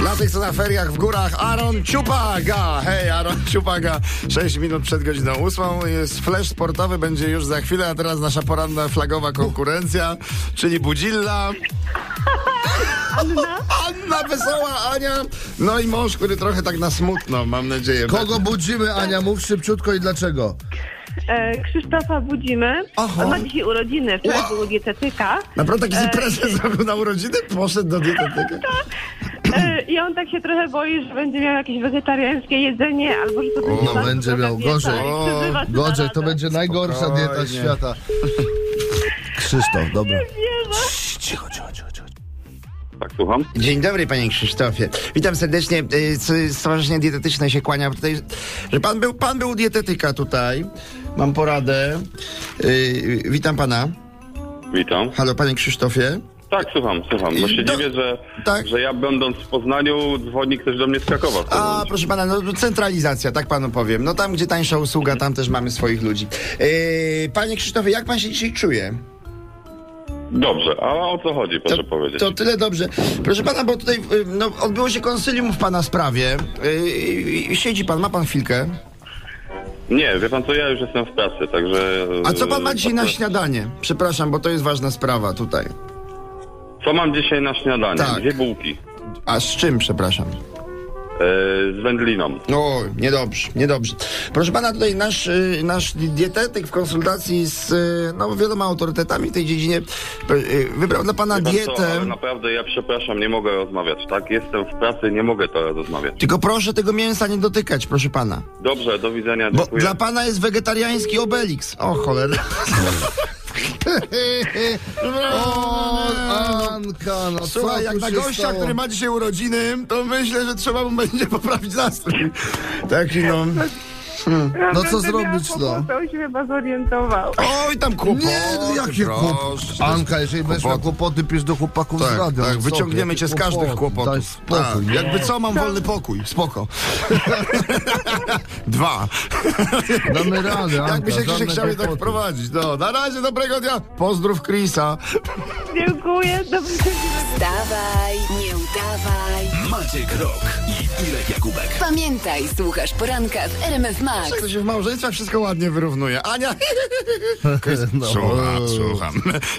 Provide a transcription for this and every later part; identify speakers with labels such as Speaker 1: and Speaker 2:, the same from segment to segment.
Speaker 1: Dla tych, co na feriach w górach, Aaron Ciupaga. Hej, Aaron Ciupaga. 6 minut przed godziną 8. Jest flash sportowy, będzie już za chwilę, a teraz nasza poranna flagowa konkurencja, czyli Budzilla. Anna Wesoła, Ania. No i mąż, który trochę tak na smutno, mam nadzieję.
Speaker 2: Kogo budzimy, Ania? Mów szybciutko i dlaczego.
Speaker 3: E, Krzysztofa budzimy.
Speaker 1: Oho.
Speaker 3: On ma dzisiaj urodziny, wczoraj był u dietetyka.
Speaker 1: Naprawdę taki prezes zrobił na urodziny? Poszedł do dietetyka.
Speaker 3: E, I on tak się trochę boi, że będzie miał jakieś wegetariańskie jedzenie, albo że to będzie
Speaker 2: no
Speaker 3: bardzo
Speaker 2: będzie
Speaker 3: zdrowa
Speaker 2: miał
Speaker 3: dieta
Speaker 2: gorzej.
Speaker 3: i przeżywa tę
Speaker 2: Gorzej, to
Speaker 3: naradę.
Speaker 2: będzie najgorsza dieta
Speaker 1: Spokojnie.
Speaker 2: świata. Krzysztof, dobra.
Speaker 4: Tak, słucham?
Speaker 5: Dzień dobry, panie Krzysztofie. Witam serdecznie. Y, s- Stowarzyszenie Dietetyczne się kłania tutaj, że pan był, pan był u dietetyka tutaj. Mam poradę. Y, Witam pana.
Speaker 4: Witam.
Speaker 5: Halo, panie Krzysztofie.
Speaker 4: Tak, słucham, słucham. Bo się
Speaker 5: Do-
Speaker 4: dziwię, że,
Speaker 5: tak.
Speaker 4: że ja będąc w Poznaniu, dzwoni ktoś do mnie z Krakowa. w tym
Speaker 5: A,
Speaker 4: momencie.
Speaker 5: proszę pana, no centralizacja, tak panu powiem. No tam, gdzie tańsza usługa, tam też mamy swoich ludzi. Y, Panie Krzysztofie, jak pan się dzisiaj czuje?
Speaker 4: Dobrze, a o co chodzi, proszę powiedzieć?
Speaker 5: To tyle dobrze. Proszę pana, bo tutaj y, no, odbyło się konsylium w pana sprawie. Y, Siedzi pan, ma pan chwilkę.
Speaker 4: Nie, wie pan co, ja już jestem w pracy, także...
Speaker 5: A co pan ma
Speaker 4: e,
Speaker 5: dzisiaj na
Speaker 4: tak,
Speaker 5: śniadanie? Przepraszam, bo to jest ważna sprawa tutaj.
Speaker 4: Co mam dzisiaj na śniadanie?
Speaker 5: Tak.
Speaker 4: Dwie bułki.
Speaker 5: A z czym, przepraszam?
Speaker 4: E, z wędliną.
Speaker 5: O, niedobrze, niedobrze. Proszę pana, tutaj nasz, y, nasz dietetyk w konsultacji z y, no, wieloma autorytetami w tej dziedzinie y, y, wybrał dla pana
Speaker 4: Wie pan co,
Speaker 5: dietę.
Speaker 4: ale naprawdę ja przepraszam, nie mogę rozmawiać, tak? Jestem w pracy, nie mogę teraz rozmawiać.
Speaker 5: Tylko proszę tego mięsa nie dotykać, proszę pana.
Speaker 4: Dobrze, do widzenia,
Speaker 5: Bo
Speaker 4: dziękuję.
Speaker 5: dla pana jest wegetariański obelix. O, cholera.
Speaker 2: O, Anka, no co
Speaker 5: Słuchaj, jak
Speaker 2: tu
Speaker 5: na
Speaker 2: się
Speaker 5: gościa,
Speaker 2: stało?
Speaker 5: który ma dzisiaj urodziny, to myślę, że trzeba mu będzie poprawić nastrój. Taki no.
Speaker 2: No
Speaker 3: Naprawdę
Speaker 2: co
Speaker 3: miał
Speaker 2: zrobić, no?
Speaker 3: kłopot, On się chyba zorientował.
Speaker 5: Oj, tam kłopoty.
Speaker 2: Nie, no jakie
Speaker 5: proszę.
Speaker 2: kłopoty. Anka, jeżeli będziesz miał
Speaker 5: Kłopoty.
Speaker 2: kłopoty, pisz do chłopaków z
Speaker 5: Tak,
Speaker 2: radia.
Speaker 5: tak,
Speaker 2: No co
Speaker 5: wyciągniemy
Speaker 2: ty,
Speaker 5: cię z
Speaker 2: kłopoty,
Speaker 5: każdych
Speaker 2: Daj
Speaker 5: kłopotów.
Speaker 2: spokój.
Speaker 5: tak.
Speaker 2: nie?
Speaker 5: Jakby co, mam wolny pokój, spoko. Dwa.
Speaker 2: Damy radę, Anka,
Speaker 5: Jakby Tak. się
Speaker 2: żadne
Speaker 5: Krzysiek chciał jednak
Speaker 2: kłopoty.
Speaker 5: wprowadzić. No, na razie, dobrego dnia. Pozdrów Krisa.
Speaker 3: Dziękuję, dobrze.
Speaker 6: Wstawaj, nie udawaj.
Speaker 7: Maciek Rok i Irek Jakubek.
Speaker 6: Pamiętaj, słuchasz poranka w RMF Max.
Speaker 5: Jak to się w małżeństwach wszystko ładnie wyrównuje. Ania...
Speaker 2: No,
Speaker 5: Słucham, słucham.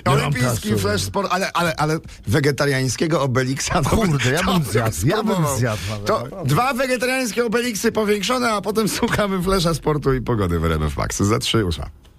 Speaker 5: Olimpijski
Speaker 2: czasu.
Speaker 5: flash sport, ale, ale, ale wegetariańskiego Obelixa. to-
Speaker 2: No Kurde, ja
Speaker 5: to
Speaker 2: bym zjadł, ja bym
Speaker 5: spróbował.
Speaker 2: zjadł, no.
Speaker 5: To
Speaker 2: naprawdę.
Speaker 5: dwa wegetariańskie Obelixy powiększone, a potem słuchamy flasha sportu i pogody w RMF Max. Za trzy usza.